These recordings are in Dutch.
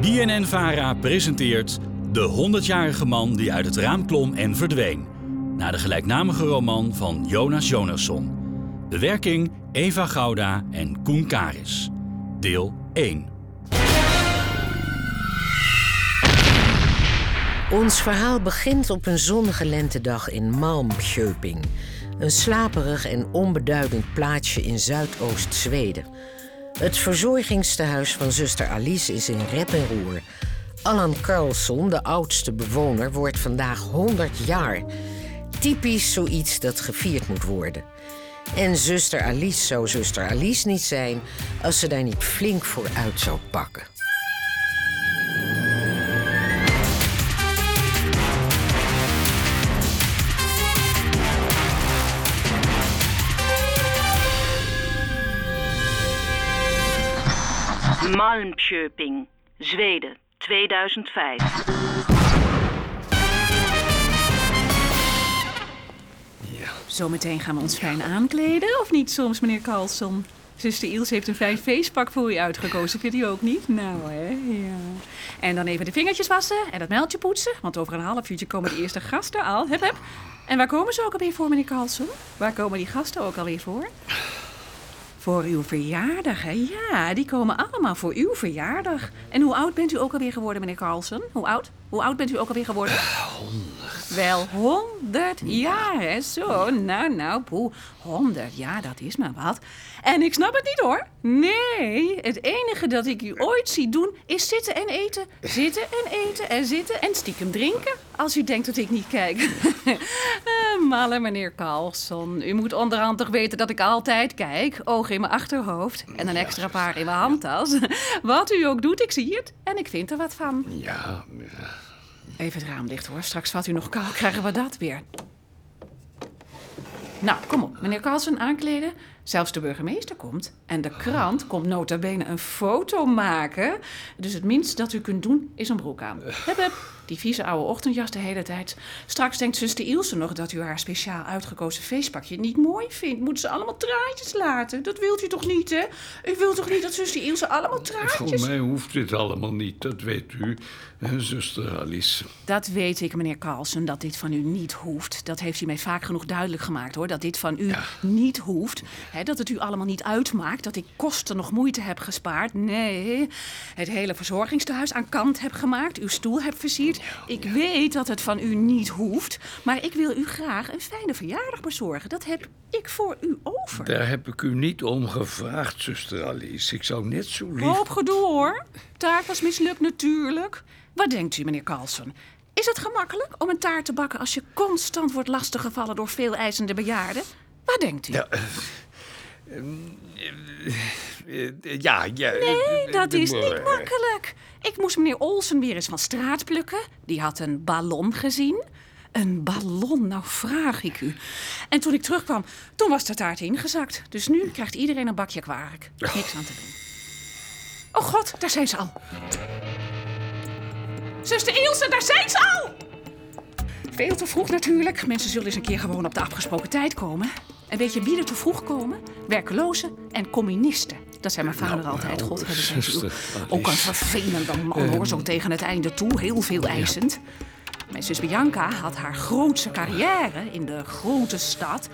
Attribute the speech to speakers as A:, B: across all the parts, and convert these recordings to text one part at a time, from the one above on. A: BNN-VARA presenteert De 100-jarige man die uit het raam klom en verdween. Naar de gelijknamige roman van Jonas Jonasson. Bewerking Eva Gouda en Koen Karis. Deel 1.
B: Ons verhaal begint op een zonnige lentedag in Malmköping. Een slaperig en onbeduidend plaatsje in Zuidoost-Zweden. Het verzorgingstehuis van zuster Alice is in rep en roer. Allan Carlson, de oudste bewoner, wordt vandaag 100 jaar. Typisch zoiets dat gevierd moet worden. En zuster Alice zou zuster Alice niet zijn als ze daar niet flink voor uit zou pakken.
C: Malmköping, Zweden, 2005.
D: Zometeen gaan we ons fijn aankleden, of niet soms, meneer Carlson? Zuster Iels heeft een fijn feestpak voor u uitgekozen. Vindt u ook niet? Nou, hè, ja. En dan even de vingertjes wassen en dat muiltje poetsen. Want over een half uurtje komen de eerste gasten al. Hup, hup. En waar komen ze ook alweer voor, meneer Carlson? Waar komen die gasten ook alweer voor? Voor uw verjaardag, hè? Ja, die komen allemaal voor uw verjaardag. En hoe oud bent u ook alweer geworden, meneer Carlson? Hoe oud? Hoe oud bent u ook alweer geworden? Wel 100 jaar, hè? Zo, nou, nou, poe. 100 jaar, dat is maar wat. En ik snap het niet hoor. Nee, het enige dat ik u ooit zie doen is zitten en eten. Zitten en eten en zitten en stiekem drinken. Als u denkt dat ik niet kijk. Eh, Malle meneer Carlson, u moet onderhand toch weten dat ik altijd kijk. Oog in mijn achterhoofd en een extra paar in mijn handtas. Wat u ook doet, ik zie het en ik vind er wat van.
E: Ja,
D: Even het raam dicht hoor. Straks vat u nog kou, krijgen we dat weer. Nou, kom op. Meneer Carlsen aankleden. Zelfs de burgemeester komt. En de krant komt nota bene een foto maken. Dus het minst dat u kunt doen is een broek aan.
E: Eh.
D: Hup, hup. Die vieze oude ochtendjas de hele tijd. Straks denkt zuster Ilse nog dat u haar speciaal uitgekozen feestpakje niet mooi vindt. Moet ze allemaal traantjes laten? Dat wilt u toch niet, hè? U wilt toch niet dat zuster Ilse allemaal
E: voor
D: traantjes...
E: mij hoeft dit allemaal niet, dat weet u, hè, zuster Alice.
D: Dat weet ik, meneer Carlsen, dat dit van u niet hoeft. Dat heeft u mij vaak genoeg duidelijk gemaakt, hoor. Dat dit van u niet hoeft. Hè, dat het u allemaal niet uitmaakt. Dat ik kosten nog moeite heb gespaard. Nee. Het hele verzorgingstehuis aan kant heb gemaakt. Uw stoel heb versierd. Ik weet dat het van u niet hoeft. Maar ik wil u graag een fijne verjaardag bezorgen. Dat heb ik voor u over.
E: Daar heb ik u niet om gevraagd, zuster Alice. Ik zou net zo lief...
D: Hoop gedoe, hoor. Taart was mislukt, natuurlijk. Wat denkt u, meneer Carlsen? Is het gemakkelijk om een taart te bakken als je constant wordt lastiggevallen door veel eisende bejaarden? Wat denkt u?
E: Ja, eh, eh, eh, ja, ja...
D: Nee,
E: eh,
D: dat
E: de-
D: is niet
E: eh,
D: makkelijk. Ik moest meneer Olsen weer eens van straat plukken. Die had een ballon gezien. Een ballon, nou vraag ik u. En toen ik terugkwam, toen was de taart ingezakt. Dus nu krijgt iedereen een bakje kwark. Niks aan te doen. Oh god, daar zijn ze al. Zuster Ilse, daar zijn ze al! Veel te vroeg natuurlijk. Mensen zullen eens een keer gewoon op de afgesproken tijd komen. En weet je wie er te vroeg komen? Werkelozen en communisten. Dat zei mijn vader altijd.
E: nou,
D: God hebben zij ziel.
E: zuster, Alice.
D: Ook een Oh, vervelende man
E: Eh,
D: hoor, zo tegen het einde toe. Heel veel eisend. Mijn zus Bianca had haar grootste carrière in de grote stad.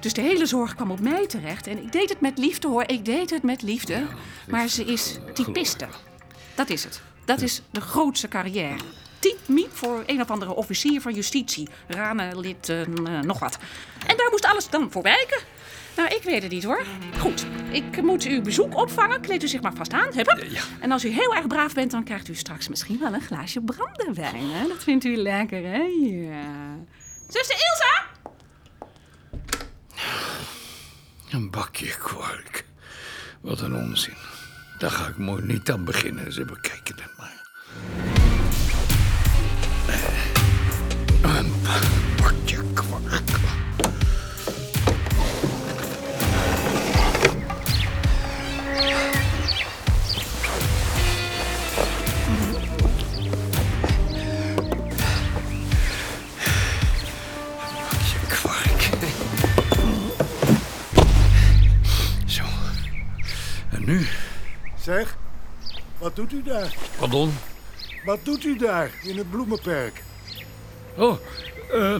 D: Dus de hele zorg kwam op mij terecht. En ik deed het met liefde hoor, ik deed het met liefde. maar ze is typiste. Dat is het. Dat is de grootste carrière. Typmiep voor een of andere officier van justitie. Ranenlid, eh, eh, nog wat. En daar moest alles dan voor wijken. Nou, ik weet het niet hoor. Goed, ik moet uw bezoek opvangen. Kleed u zich maar vast aan. Hup, hup. En als u heel erg braaf bent, dan krijgt u straks misschien wel een glaasje brandewijn. Hè? Dat vindt u lekker, hè? Ja. Zuster Ilsa!
E: Een bakje kwark. Wat een onzin. Daar ga ik mooi niet aan beginnen. Ze bekijken het maar. Eh, Een bakje kwark. Een bakje kwark. Zo. En nu?
F: Zeg, wat doet u daar?
E: Pardon?
F: Wat doet u daar in het bloemenperk?
E: Oh, eh,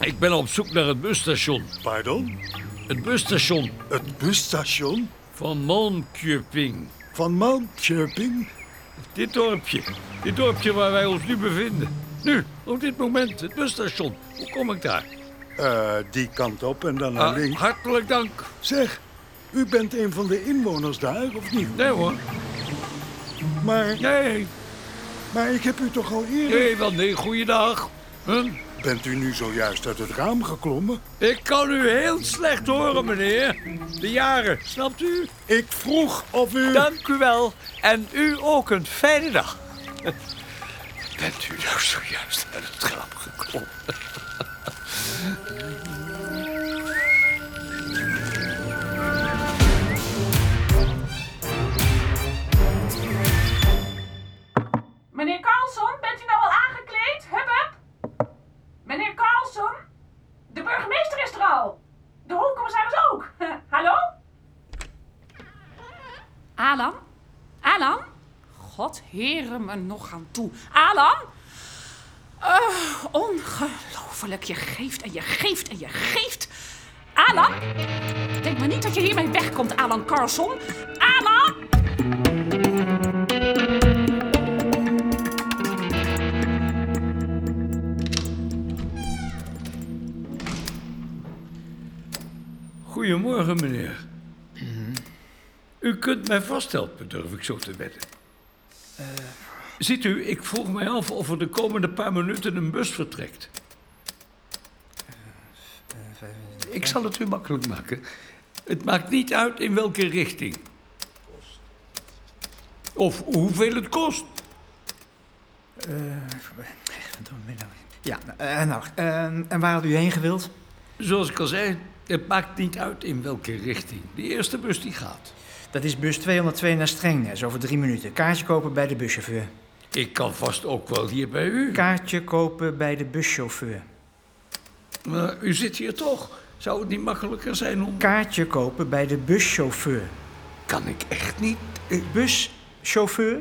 E: ik ben op zoek naar het busstation.
F: Pardon?
E: Het busstation
F: Het busstation
E: van Malmköping.
F: van Malmköping?
E: Dit dorpje. Dit dorpje waar wij ons nu bevinden. Nu, op dit moment, het busstation. Hoe kom ik daar?
F: Eh, die kant op en dan naar
E: Ah,
F: links.
E: hartelijk dank.
F: Zeg, u bent een van de inwoners daar, of niet?
E: Nee hoor.
F: Maar,
E: Nee,
F: maar ik heb u toch al eerder...
E: nee, wel nee. Goeiedag. Huh?
F: Bent u nu zojuist uit het raam geklommen?
E: Ik kan u heel slecht horen, meneer. De jaren, snapt u?
F: Ik vroeg of u...
E: Dank u wel. En u ook een fijne dag. Bent u nou zojuist uit het grap geklommen?
G: Meneer Carlson, bent u nou al aangekleed? Hup, hup! Meneer Carlson? De burgemeester is er al! De hoofdcommissaris ook! Hallo? Alan? Alan? God heren me nog aan toe. Alan? Eh, ongelooflijk, je geeft en je geeft en je geeft. Alan? Denk maar niet dat je hiermee wegkomt, Alan Carlson. Alan!
E: Goedemorgen, meneer. U kunt mij vast helpen, durf ik zo te wedden. Ziet u, ik vroeg mij af of er de komende paar minuten een bus vertrekt. Ik zal het u makkelijk maken. Het maakt niet uit in welke richting. Of hoeveel het kost.
F: Eh,
H: Ja, eh, nou, eh, en waar had u heen gewild?
E: Zoals ik al zei, het maakt niet uit in welke richting. De eerste bus die gaat.
H: Dat is bus 202 naar Strengnes, over drie minuten. Kaartje kopen bij de buschauffeur.
E: Ik kan vast ook wel hier bij u.
H: Kaartje kopen bij de buschauffeur.
E: Maar u zit hier toch? Zou het niet makkelijker zijn om...
H: Kaartje kopen bij de buschauffeur. Eh,
E: Kan ik echt niet.
H: Buschauffeur?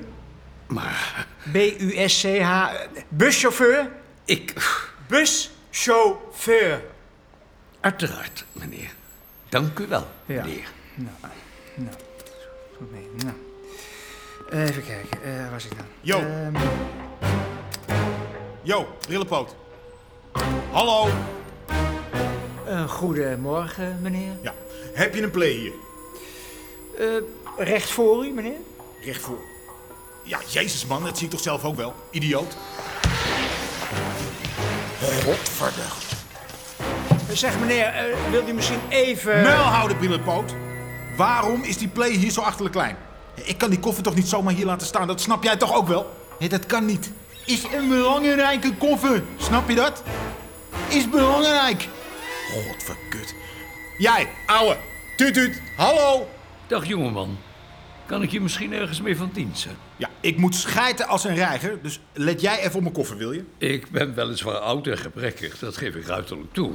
E: Maar
H: B-U-S-C-H... eh, Buschauffeur?
E: ik.
H: Buschauffeur.
E: Uiteraard, meneer. Dank u wel,
H: Ja. Nou,
E: meneer.
H: Goed mee, nou. Even kijken, eh, waar was ik nou?
I: Jo.
H: Ehm,
I: Yo, brillenpoot. Hallo.
H: eh, goedemorgen, meneer.
I: Ja, heb je een play hier?
H: Eh, recht voor u, meneer?
I: Recht voor. Ja, jezus man, dat zie ik toch zelf ook wel. Idioot. Godverdacht.
H: Eh, Zeg, meneer, eh, wilt u misschien even...
I: Muil houden, brillenpoot. Waarom is die play hier zo achterlijk klein? Ik kan die koffer toch niet zomaar hier laten staan, dat snap jij toch ook wel? Nee, dat kan niet. Is een belangrijke koffer, snap je dat? Is belangrijk. Godverkut. Jij, ouwe, tuut tuut, hallo.
E: Dag, jongeman. Kan ik je misschien ergens mee van dienst zijn?
I: Ja, ik moet schijten als een reiger, dus let jij even op mijn koffer, wil je?
E: Ik ben weliswaar oud en gebrekkig, dat geef ik uiterlijk toe.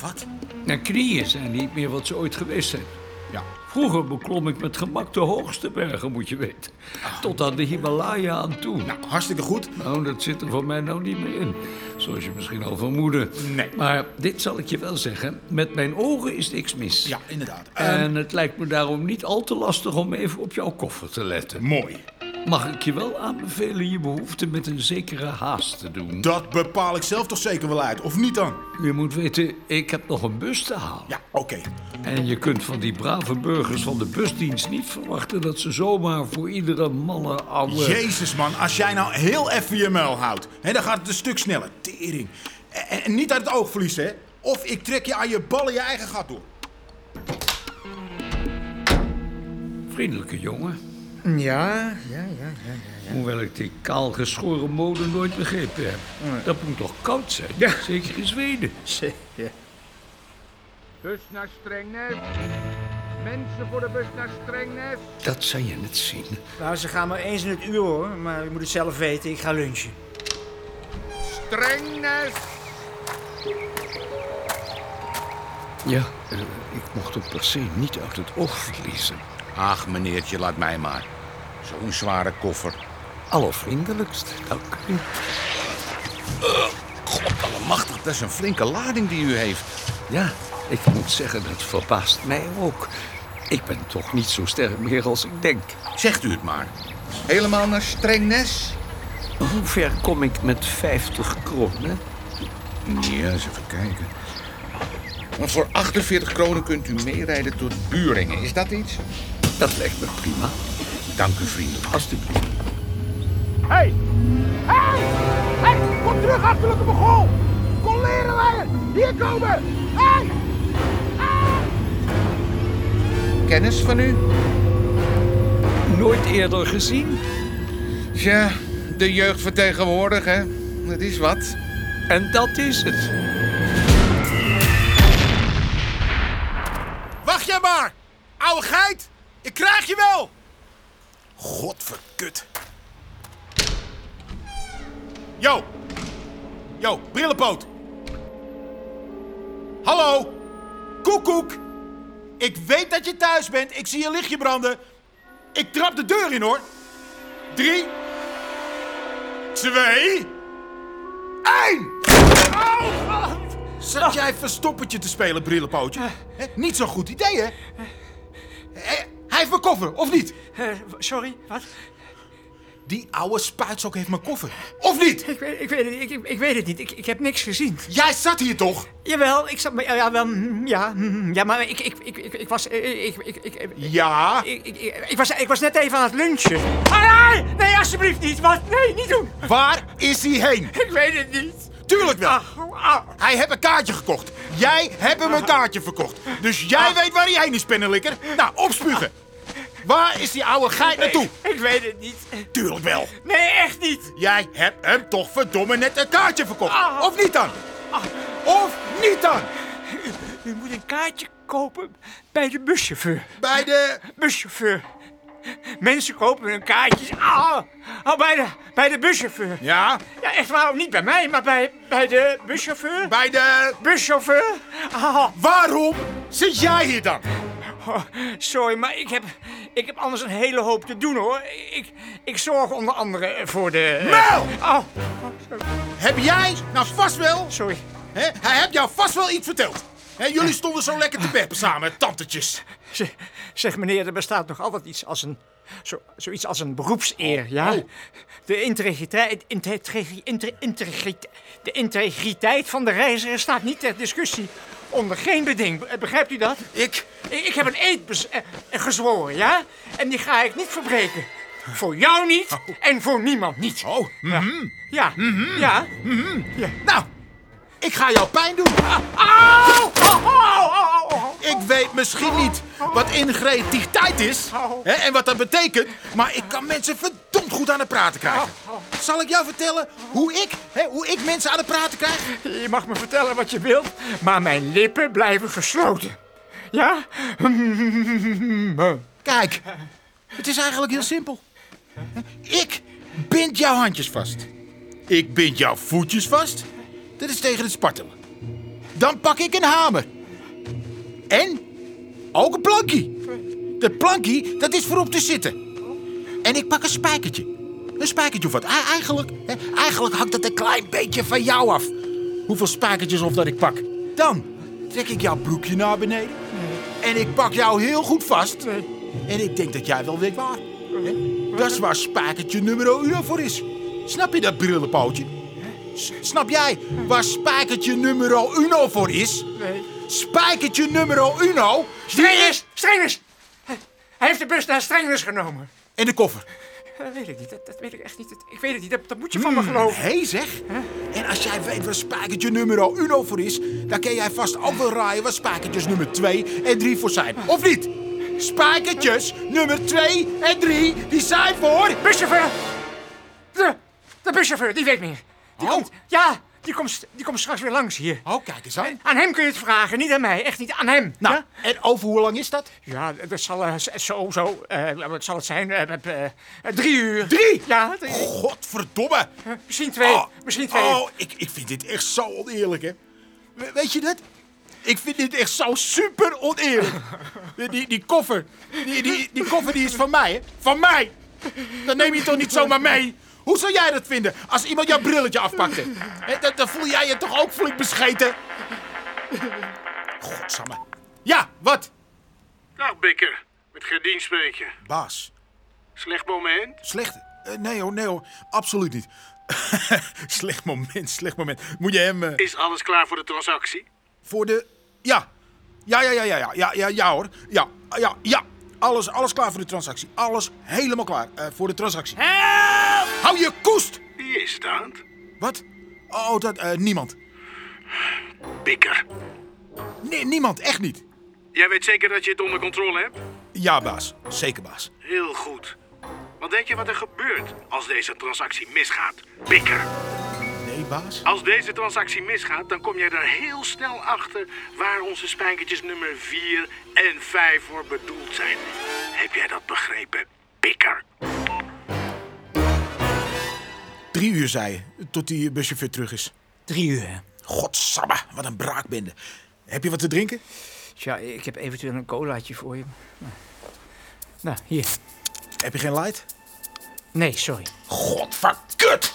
I: Wat?
E: Mijn knieën zijn niet meer wat ze ooit geweest zijn.
I: Ja.
E: Vroeger beklom ik met gemak de hoogste bergen, moet je weten. Tot aan de Himalaya aan toe.
I: Nou, hartstikke goed.
E: Nou, dat zit er voor mij nou niet meer in. Zoals je misschien al vermoedde.
I: Nee.
E: Maar dit zal ik je wel zeggen. Met mijn ogen is niks mis.
I: Ja, inderdaad. Ehm,
E: En het lijkt me daarom niet al te lastig om even op jouw koffer te letten.
I: Mooi.
E: Mag ik je wel aanbevelen je behoefte met een zekere haast te doen?
I: Dat bepaal ik zelf toch zeker wel uit, of niet dan?
E: Je moet weten, ik heb nog een bus te halen.
I: Ja, oké.
E: En je kunt van die brave burgers van de busdienst niet verwachten dat ze zomaar voor iedere malle oude...
I: Jezus man, als jij nou heel even je muil houdt, hè, dan gaat het een stuk sneller. Tering. En, en niet uit het oog verliezen, hè. Of ik trek je aan je ballen je eigen gat door.
E: Vriendelijke jongen.
H: Ja, ja, ja.
E: Hoewel ik die kaalgeschoren mode nooit begrepen heb. Dat moet toch koud zijn? Zeker in Zweden.
J: Bus naar Strengnes. Mensen voor de bus naar Strengnes.
E: Dat zou je net zien.
H: Nou, ze gaan maar eens in het uur hoor, maar u moet het zelf weten. Ik ga lunchen.
J: Strengnes.
E: Ja, eh, ik mocht hem per se niet uit het oog verliezen.
I: Ach meneertje, laat mij maar. Zo'n zware koffer.
K: allervriendelijkst. Dank u. Godallemachtig, dat is een flinke lading die u heeft. Ja, ik moet zeggen, dat verbaast mij ook. Ik ben toch niet zo sterk meer als ik denk. Zegt u het maar. Helemaal naar strengnes? Hoe ver kom ik met 50 kronen?
L: Ja, eens even kijken. Want voor 48 kronen kunt u meerijden tot Buringen. Is dat iets?
K: Dat lijkt me prima.
L: Dank u vriendelijk.
K: Alsjeblieft.
J: Hey! Hey! Hey! Kom terug, achterlijke begon! Kom leren leiden! Hier komen! Hey!
L: Kennis van u?
K: Nooit eerder gezien?
L: Ja, de jeugd vertegenwoordigen. hè. Dat is wat.
K: En dat is het.
I: Wacht jij maar! Oude geit! Ik krijg je wel! Godverkut. Yo! Yo, brillenpoot! Hallo! Koekoek! Ik weet dat je thuis bent. Ik zie je lichtje branden. Ik trap de deur in hoor. Drie. Twee. Eén! Zat jij verstoppertje te spelen, brillenpootje? Hè, Niet zo'n goed idee, hè? Hè, Hij heeft mijn koffer, of niet?
H: Eh, sorry, wat?
I: Die oude spuitzak heeft mijn koffer. Of niet?
H: Ik weet, ik weet, het, ik, ik- ik weet het niet. Ik, ik heb niks gezien.
I: Jij zat hier toch?
H: Jawel, ik zat... maar- Ja, ja, wel, mm, ja, mm, ja maar ik, ik, ik, ik, ik was... eh, Ik, ik, ik, ik-
I: Ja?
H: Ik, ik, ik- ik was, ik was net even aan het lunchen. Ah, nee, nee, alsjeblieft niet. Wat? Nee, niet doen.
I: Waar is hij heen?
H: Ik weet het niet.
I: Tuurlijk wel. Hij heeft een kaartje gekocht. Jij hebt hem een kaartje verkocht. Dus jij
H: Ah.
I: weet waar hij heen is, pennenlikker. Nou, opspugen. Waar is die oude geit naartoe?
H: Ik weet het niet.
I: Tuurlijk wel.
H: Nee, echt niet. Ah.
I: Jij hebt hem toch verdomme net een kaartje verkocht. Of niet dan? Of niet dan?
H: U moet een kaartje kopen bij de buschauffeur.
I: Bij de...
H: Buschauffeur. Mensen kopen hun kaartjes ah, ah, bij, de, bij de buschauffeur.
I: Ja?
H: Ja, echt waarom niet bij mij, maar bij, bij de buschauffeur.
I: Bij de...
H: Buschauffeur. Ah.
I: Waarom zit jij hier dan?
H: Oh, sorry, maar ik heb, ik heb anders een hele hoop te doen, hoor. Ik, ik zorg onder andere voor de... eh,
I: Mel!
H: Oh,
I: Heb jij nou vast wel...
H: Sorry.
I: Hè? Hij heeft jou vast wel iets verteld. Hè, jullie stonden zo lekker te beppen samen, tantetjes.
H: zeg, zeg, meneer, er bestaat nog altijd iets als een... Zo, zoiets als een beroepseer,
I: Oh,
H: ja? De integriteit... integri- inter- integriteit- de integriteit van de reiziger staat niet ter discussie. Onder geen beding. Be- Begrijpt u dat?
I: Ik...
H: Ik, heb een eed bez- eh, eh, gezworen, ja? En die ga ik niet verbreken. Voor jou niet en voor niemand niet.
I: Oh, Mhm.
H: Ja, ja.
I: Nou, ik ga jou pijn doen. Ah, Ik weet misschien niet wat ingrediëntiteit is hè, en wat dat betekent, maar ik kan mensen verdomd goed aan het praten krijgen. Zal ik jou vertellen hoe ik, hè, hoe ik mensen aan het praten krijg?
H: Je mag me vertellen wat je wilt, maar mijn lippen blijven gesloten. Ja?
I: Kijk, het is eigenlijk heel simpel. Ik bind jouw handjes vast. Ik bind jouw voetjes vast. Dat is tegen het spartelen. Dan pak ik een hamer. En ook een plankie. Dat plankie, dat is voor op te zitten. En ik pak een spijkertje. Een spijkertje of wat. E- Eigenlijk, hè, eigenlijk hangt dat een klein beetje van jou af. Hoeveel spijkertjes of dat ik pak. Dan trek ik jouw broekje naar beneden. En ik pak jou heel goed vast. En ik denk dat jij wel weet waar. Hè? Dat is waar spijkertje nummer uno voor is. Snap je dat, brillenpootje? S- Snap jij waar spijkertje nummer uno voor is?
H: Nee.
I: Spijkertje nummer uno?
H: Strengers! Strengers! Hij heeft de bus naar Strengers genomen.
I: In de koffer.
H: Dat weet ik niet, dat, dat weet ik echt niet. Dat- Ik weet het niet, dat, dat moet je van me geloven.
I: Hmm, Hé zeg. En als jij weet waar spijkertje nummer uno voor is... dan ken jij vast ook wel raaien waar spijkertjes nummer 2 en 3 voor zijn. Of niet? Spijkertjes nummer 2 en 3, die zijn voor...
H: Buschauffeur! De, de buschauffeur, die weet meer. Die komt, ja, die komt, die komt straks weer langs hier.
I: Oh, kijk eens aan.
H: Aan hem kun je het vragen, niet aan mij. Echt niet, aan hem.
I: Nou,
H: ja?
I: en over hoe lang is dat?
H: Ja, dat zal eh, z- zo, zo, eh, wat zal het zijn? Eh, eh, eh, drie uur.
I: Drie?
H: Ja, drie.
I: Godverdomme.
H: Eh, misschien twee,
I: Oh,
H: misschien twee.
I: Oh, ik, ik vind dit echt zo oneerlijk, hè. We- weet je dat? Ik vind dit echt zo super oneerlijk. Die, die, die koffer, die, die, die koffer die is van mij, hè. Van mij! Dat neem je toch niet zomaar mee? Hoe zou jij dat vinden als iemand jouw brilletje afpakte? Hè, Dan, dan voel jij je toch ook flink bescheten? Godsamme. Ja, wat?
E: Nou, Bikker, met Gerdien spreek je.
I: Baas,
E: Slecht moment?
I: Slecht? Eh, nee hoor, nee hoor. Absoluut niet. slecht moment, slecht moment. Moet je hem... eh,
E: Is alles klaar voor de transactie?
I: Voor de... Ja. Ja, ja, ja, ja, ja, ja, ja, ja hoor. Ja, ja, ja. Alles, alles klaar voor de transactie. Alles helemaal klaar eh, voor de transactie. Help! Hou je koest!
E: Wie is het aan? het?
I: Wat? Oh, dat... eh, niemand.
E: Bikker.
I: Nee, niemand. Echt niet.
E: Jij weet zeker dat je het onder controle hebt?
I: Ja, baas. Zeker, baas.
E: Heel goed. Wat denk je wat er gebeurt als deze transactie misgaat? Bikker.
I: Nee, baas.
E: Als deze transactie misgaat, dan kom jij er heel snel achter waar onze spijkertjes nummer 4 en 5 voor bedoeld zijn. Heb jij dat begrepen? Bikker.
I: Drie uur, zei je, tot die buschauffeur terug is. Drie uur, hè? Godsamme, wat een braakbende. Heb je wat te drinken?
H: Tja, ik heb eventueel een colaatje voor je. Nou, hier.
I: Heb je geen light?
H: Nee, sorry.
I: Godverkut!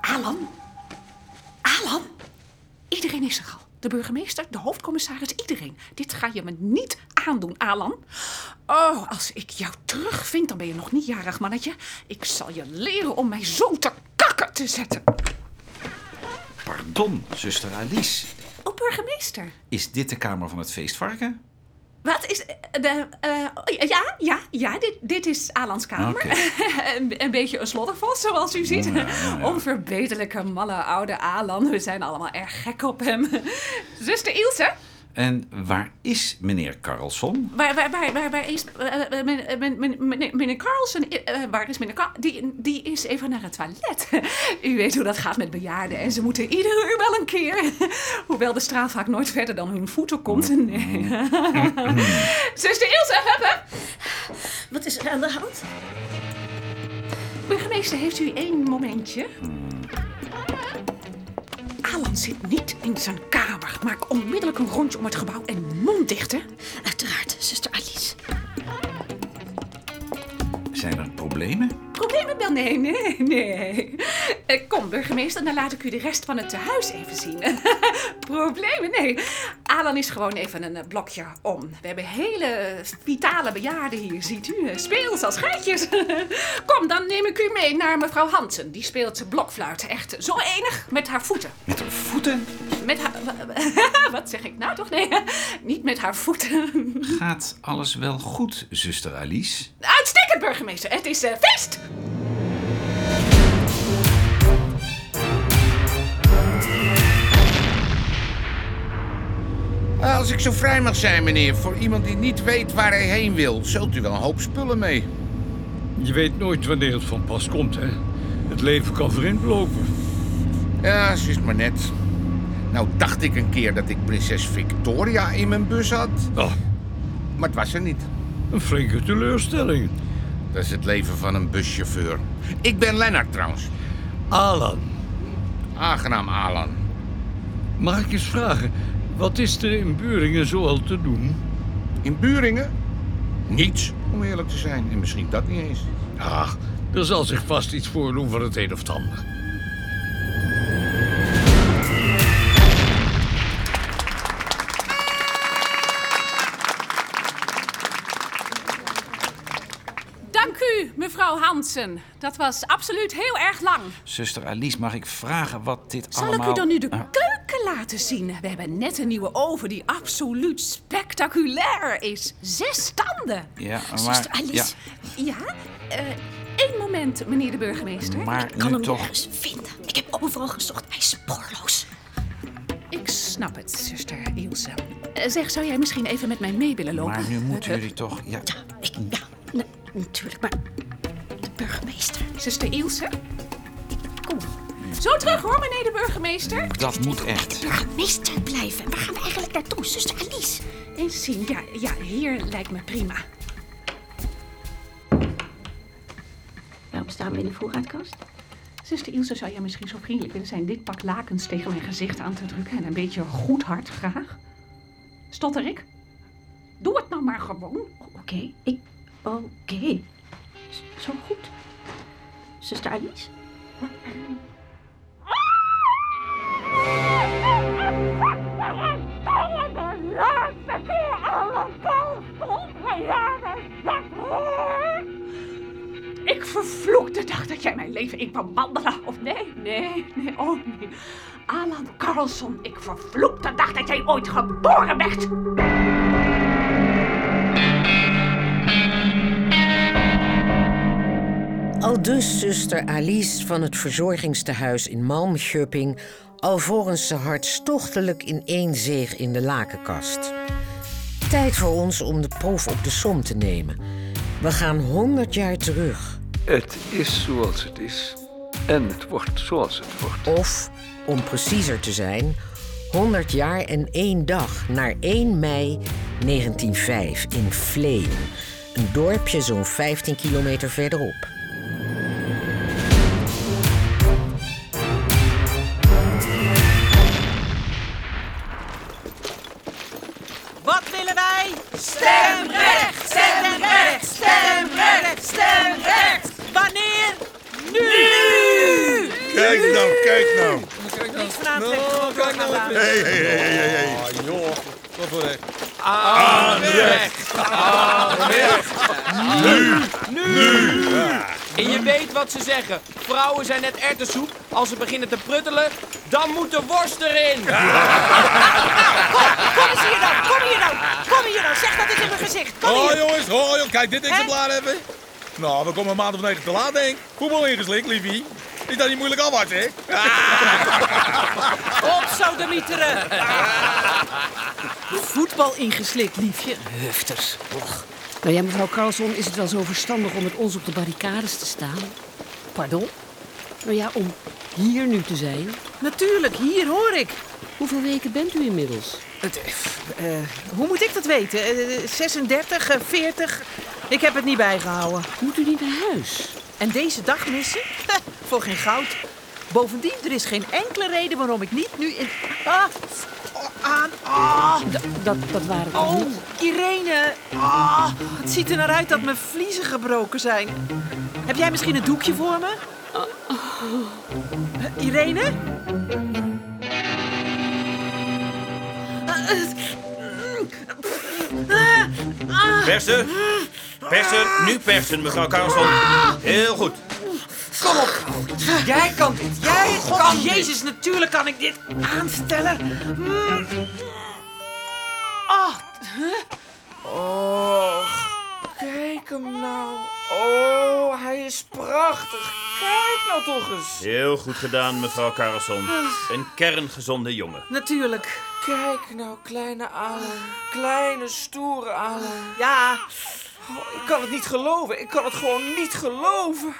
D: Alan? Alan? Iedereen is er al. De burgemeester, de hoofdcommissaris, iedereen. Dit ga je me niet aandoen, Alan. Oh, als ik jou terugvind, dan ben je nog niet jarig, mannetje. Ik zal je leren om mij zo te kakken te zetten.
A: Pardon, zuster Alice.
D: Oh, burgemeester.
A: Is dit de kamer van het feestvarken?
D: Wat is... eh, De, eh, oh, ja, ja, ja, dit, dit is Alans kamer.
A: Oké.
D: een, een beetje een sloddervos, zoals u ziet.
A: Ja, ja, ja.
D: Onverbeterlijke, malle, oude Alan. We zijn allemaal erg gek op hem. Zuster Ilse,
A: En waar is meneer Karlsson?
D: waar, waar, waar, waar, waar is... eh, eh, men- eh, men- men- meneer meneer Carlsen, eh, eh, waar is meneer Carlsen? Die, die is even naar het toilet. u weet hoe dat gaat met bejaarden. En ze moeten iedere uur wel een keer. Hoewel de straal vaak nooit verder dan hun voeten komt. Nee. Zuster Ilse, hup, hup.
M: Wat is er aan de hand?
D: Burgemeester, heeft u één momentje? Alan zit niet in zijn kamer. Maak onmiddellijk een rondje om het gebouw en mond dicht, hè? Uiteraard, zuster Alice.
A: Zijn er problemen?
D: Problemen wel? Nee, nee, nee. Eh, Kom, burgemeester, dan laat ik u de rest van het tehuis even zien. Problemen? Nee. Alan is gewoon even een eh, blokje om. We hebben hele vitale bejaarden hier, ziet u. eh, Speels als geitjes. Kom, dan neem ik u mee naar mevrouw Hansen. Die speelt blokfluit. Echt zo enig met haar voeten.
A: Met haar voeten?
D: Met haar... Wat zeg ik nou toch? Nee, niet met haar voeten.
A: Gaat alles wel goed, zuster Alice?
D: Uitstekend, burgemeester. Het is eh, feest!
L: Eh, Als ik zo vrij mag zijn, meneer, voor iemand die niet weet waar hij heen wil, zult u wel een hoop spullen mee.
N: Je weet nooit wanneer het van pas komt, hè? Het leven kan vreemd lopen.
L: Ja, ze is maar net. Nou dacht ik een keer dat ik prinses Victoria in mijn bus had. Maar het was er niet.
N: Ah. Een flinke teleurstelling.
L: Dat is het leven van een buschauffeur. Ik ben Lennart trouwens.
N: Alan.
L: Aangenaam Alan.
N: Mag ik eens vragen, wat is er in Buringen zoal te doen?
L: In Buringen? Niets, om eerlijk te zijn. En misschien dat niet eens.
N: Ach, er zal zich vast iets voordoen van het een of het ander.
D: Dank u, mevrouw Hansen. Dat was absoluut heel erg lang.
A: Zuster Alice, mag ik vragen wat dit
D: Zal
A: allemaal...
D: ik u dan nu de
A: Ah,
D: keuken laten zien? We hebben net een nieuwe oven die absoluut spectaculair is. Zes tanden.
A: ja, maar...
D: Zuster Alice. Ja? Eh Eén moment, meneer de burgemeester.
A: Maar Ik kan nu hem toch- nergens
D: vinden. Ik heb overal gezocht. Hij is spoorloos. Ik snap het, zuster Ilse. Eh, zeg, zou jij misschien even met mij mee willen
A: Ja,
D: lopen?
A: maar nu moeten
D: Eh,
A: jullie toch... Ja,
D: Natuurlijk, maar de burgemeester. Zuster Ilse? Kom. Zo terug hoor, meneer de burgemeester.
A: dat moet echt.
D: Burgemeester blijven. Waar gaan we eigenlijk naartoe, zuster Eh, Alice? Eens zien. Ja, ja, hier lijkt me prima.
O: staan we in de voorraadkast?
D: Zuster Ilse, zou jij misschien zo vriendelijk willen zijn dit pak lakens tegen mijn gezicht aan te drukken en een beetje goed hard graag? Stotter ik? Doe het nou maar gewoon.
O: Oké, ik... Oké. S- Zo goed. Zuster Alice?
G: Ik vervloek de dag dat jij mijn leven in kwam wandelen. Of nee, nee, nee, oh nee. Alan Carlson, ik vervloek de dag dat jij ooit geboren werd.
B: Al dus zuster Alice van het verzorgingstehuis in Malmschöping... alvorens ze hartstochtelijk in één zeeg in de lakenkast. Tijd voor ons om de proef op de som te nemen. We gaan 100 jaar terug.
P: Het is zoals het is. En het wordt zoals het wordt.
B: Of, om preciezer te zijn, 100 jaar en één dag naar 1 mei 1905 in Vleem. Een dorpje zo'n 15 kilometer verderop.
Q: Wat willen wij? Stemrecht! Stemrecht! Stemrecht! Stemrecht! Wanneer? Nu!
L: Kijk nou, kijk nou.
Q: Niks van aantrekken, gewoon doorgaan laten.
L: Hé, hé, hé, hé, hé.
R: nou Ah, joh. Wat voor recht?
Q: Aanrecht!
R: Aanrecht!
Q: Nu! Nu! En je weet wat ze zeggen. Vrouwen zijn net erwtensoep. Als ze beginnen te pruttelen, dan moet de worst erin.
S: Kom eens hier dan, kom hier dan, kom
Q: nou
S: hier dan. Zeg dat ik in mijn gezicht. Kom
R: Oh
S: hier.
R: jongens, oh joh, kijk dit exemplaar even. Nou, we komen een maand of negen te laat, denk ik. Voetbal ingeslikt, liefie. Is dat niet moeilijk afwas, hè? Ah!
Q: Op zo, Demieteren.
T: Voetbal ingeslikt, liefje.
Q: Hufters. Och.
T: Nou ja, mevrouw Carlson, is het wel zo verstandig om met ons op de barricades te staan? Pardon? Nou ja, om hier nu te zijn.
Q: Natuurlijk, hier hoor ik.
T: Hoeveel weken bent u inmiddels?
Q: Eh, hoe moet ik dat weten? Eh, 36, eh, 40? Ik heb het niet bijgehouden. Moet u niet naar huis? En deze dag missen? Ha, voor geen goud. Bovendien, er is geen enkele reden waarom ik niet nu in... Ah, oh, aan... Ah.
T: Dat, dat waren we
Q: Oh,
T: niet.
Q: Irene. Ah, het ziet er naar uit dat mijn vliezen gebroken zijn. Heb jij misschien een doekje voor me? Eh, Irene?
S: Ah, eh, ah, ah.
R: Persen, persen, nu persen, mevrouw Carlson. Heel goed.
Q: Kom op. Jij kan dit. Jij kan Oh, Jezus, natuurlijk kan ik dit aanstellen. Mm. Ah.
S: huh? Oh, kijk hem nou. Oh, hij is prachtig. Kijk nou toch eens.
U: Heel goed gedaan, mevrouw Carlson. Een kerngezonde jongen.
Q: Natuurlijk.
S: Kijk nou, kleine Alan. Kleine, stoere Alan.
Q: Ja.
S: Oh, ik kan het niet geloven. Ik kan het gewoon niet geloven.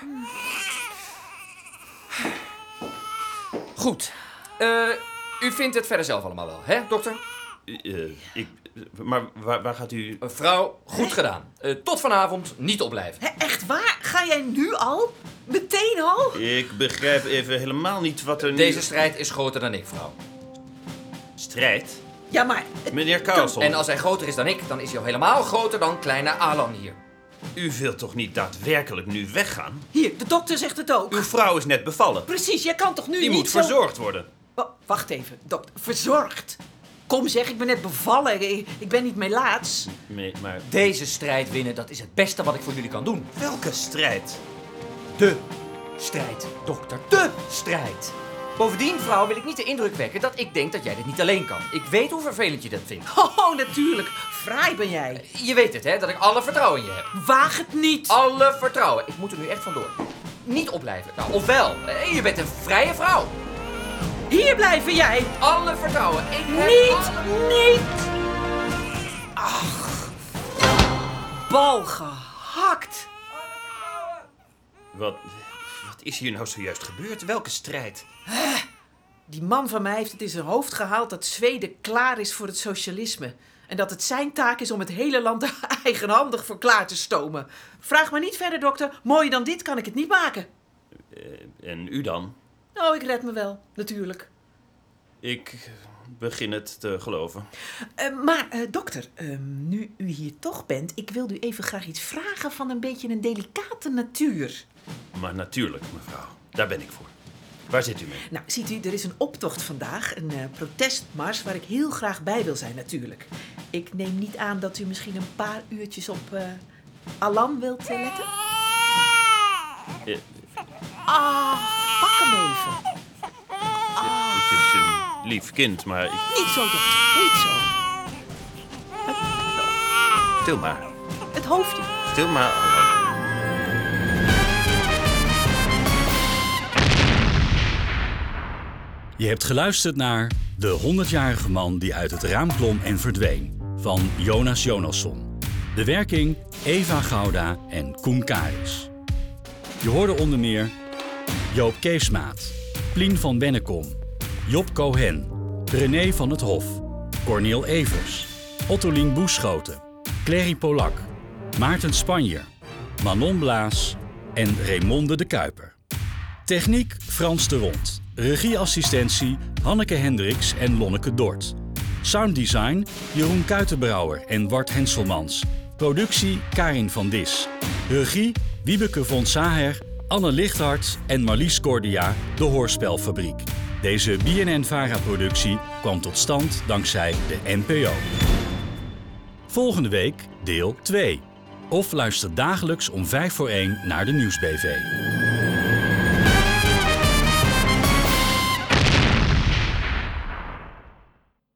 V: Goed. Eh, u vindt het verder zelf allemaal wel, hè, dokter?
U: Eh, ik, maar waar, waar gaat u...
V: Mevrouw, goed gedaan. Eh, tot vanavond, niet opblijven.
Q: Echt waar? Ga jij nu al? Meteen al?
U: Ik begrijp even helemaal niet wat er nu...
V: Deze strijd is groter dan ik, vrouw.
U: Strijd?
Q: Ja, maar...
U: Meneer Carlson.
V: En als hij groter is dan ik, dan is hij al helemaal groter dan kleine Alan hier.
U: U wilt toch niet daadwerkelijk nu weggaan?
Q: Hier, de dokter zegt het ook.
U: Uw vrouw is net bevallen.
Q: Precies, jij kan toch nu
U: Die
Q: niet
U: moet
Q: zo...
U: verzorgd worden.
Q: Wa- wacht even, dokter. Verzorgd? Kom zeg, ik ben net bevallen. Ik, ik ben niet melaats.
U: Nee, maar...
V: Deze strijd winnen, dat is het beste wat ik voor jullie kan doen.
U: Welke strijd?
V: De strijd, dokter. De strijd. Bovendien, vrouw, wil ik niet de indruk wekken dat ik denk dat jij dit niet alleen kan. Ik weet hoe vervelend je dat vindt.
Q: Oh, natuurlijk. Fraai ben jij.
V: Je weet het, hè, dat ik alle vertrouwen in je heb.
Q: Waag het niet.
V: Alle vertrouwen. Ik moet er nu echt vandoor. Niet opblijven. Nou, ofwel, eh, je bent een vrije vrouw.
Q: Hier blijven jij.
V: Alle vertrouwen. Ik heb
Q: Niet,
V: alle-
Q: niet. Ach, bal gehakt.
U: Wat, wat is hier nou zojuist gebeurd? Welke strijd?
Q: Die man van mij heeft het in zijn hoofd gehaald dat Zweden klaar is voor het socialisme. En dat het zijn taak is om het hele land eigenhandig voor klaar te stomen. Vraag maar niet verder, dokter. Mooier dan dit kan ik het niet maken.
U: Eh, en u dan?
Q: Nou, ik red me wel, natuurlijk.
U: Ik begin het te geloven.
Q: Eh, maar, eh, dokter, eh, nu u hier toch bent, ik wil u even graag iets vragen van een beetje een delicate natuur.
U: Maar natuurlijk, mevrouw. Daar ben ik voor. Waar zit u mee?
Q: Nou, ziet u, er is een optocht vandaag, een eh, protestmars waar ik heel graag bij wil zijn natuurlijk. Ik neem niet aan dat u misschien een paar uurtjes op eh alarm wilt eh, letten.
U: Eh,
Q: Ah, pak hem even.
U: het is een lief kind, maar ik...
Q: Niet zo, dokter, niet zo.
U: Stil maar.
Q: Het hoofdje.
U: Stil maar.
A: Je hebt geluisterd naar De 100-jarige man die uit het raam klom en verdween van Jonas Jonasson. De werking Eva Gouda en Koen Karis. Je hoorde onder meer Joop Keesmaat, Plien van Bennekom, Job Cohen, René van het Hof, Corneel Evers, Ottolien Boeschoten, Clary Polak, Maarten Spanjer, Manon Blaas en Raymonde de Kuiper. Techniek Frans de Rond. Regieassistentie Hanneke Hendricks en Lonneke Dort. Sounddesign Jeroen Kuitenbrouwer en Wart Henselmans. Productie Karin van Dis. Regie Wiebeke von Saher, Anne Lichthart en Marlies Cordia, de Hoorspelfabriek. Deze BNN-Vara-productie kwam tot stand dankzij de NPO. Volgende week deel 2. Of luister dagelijks om 5 voor 1 naar de Nieuwsbv.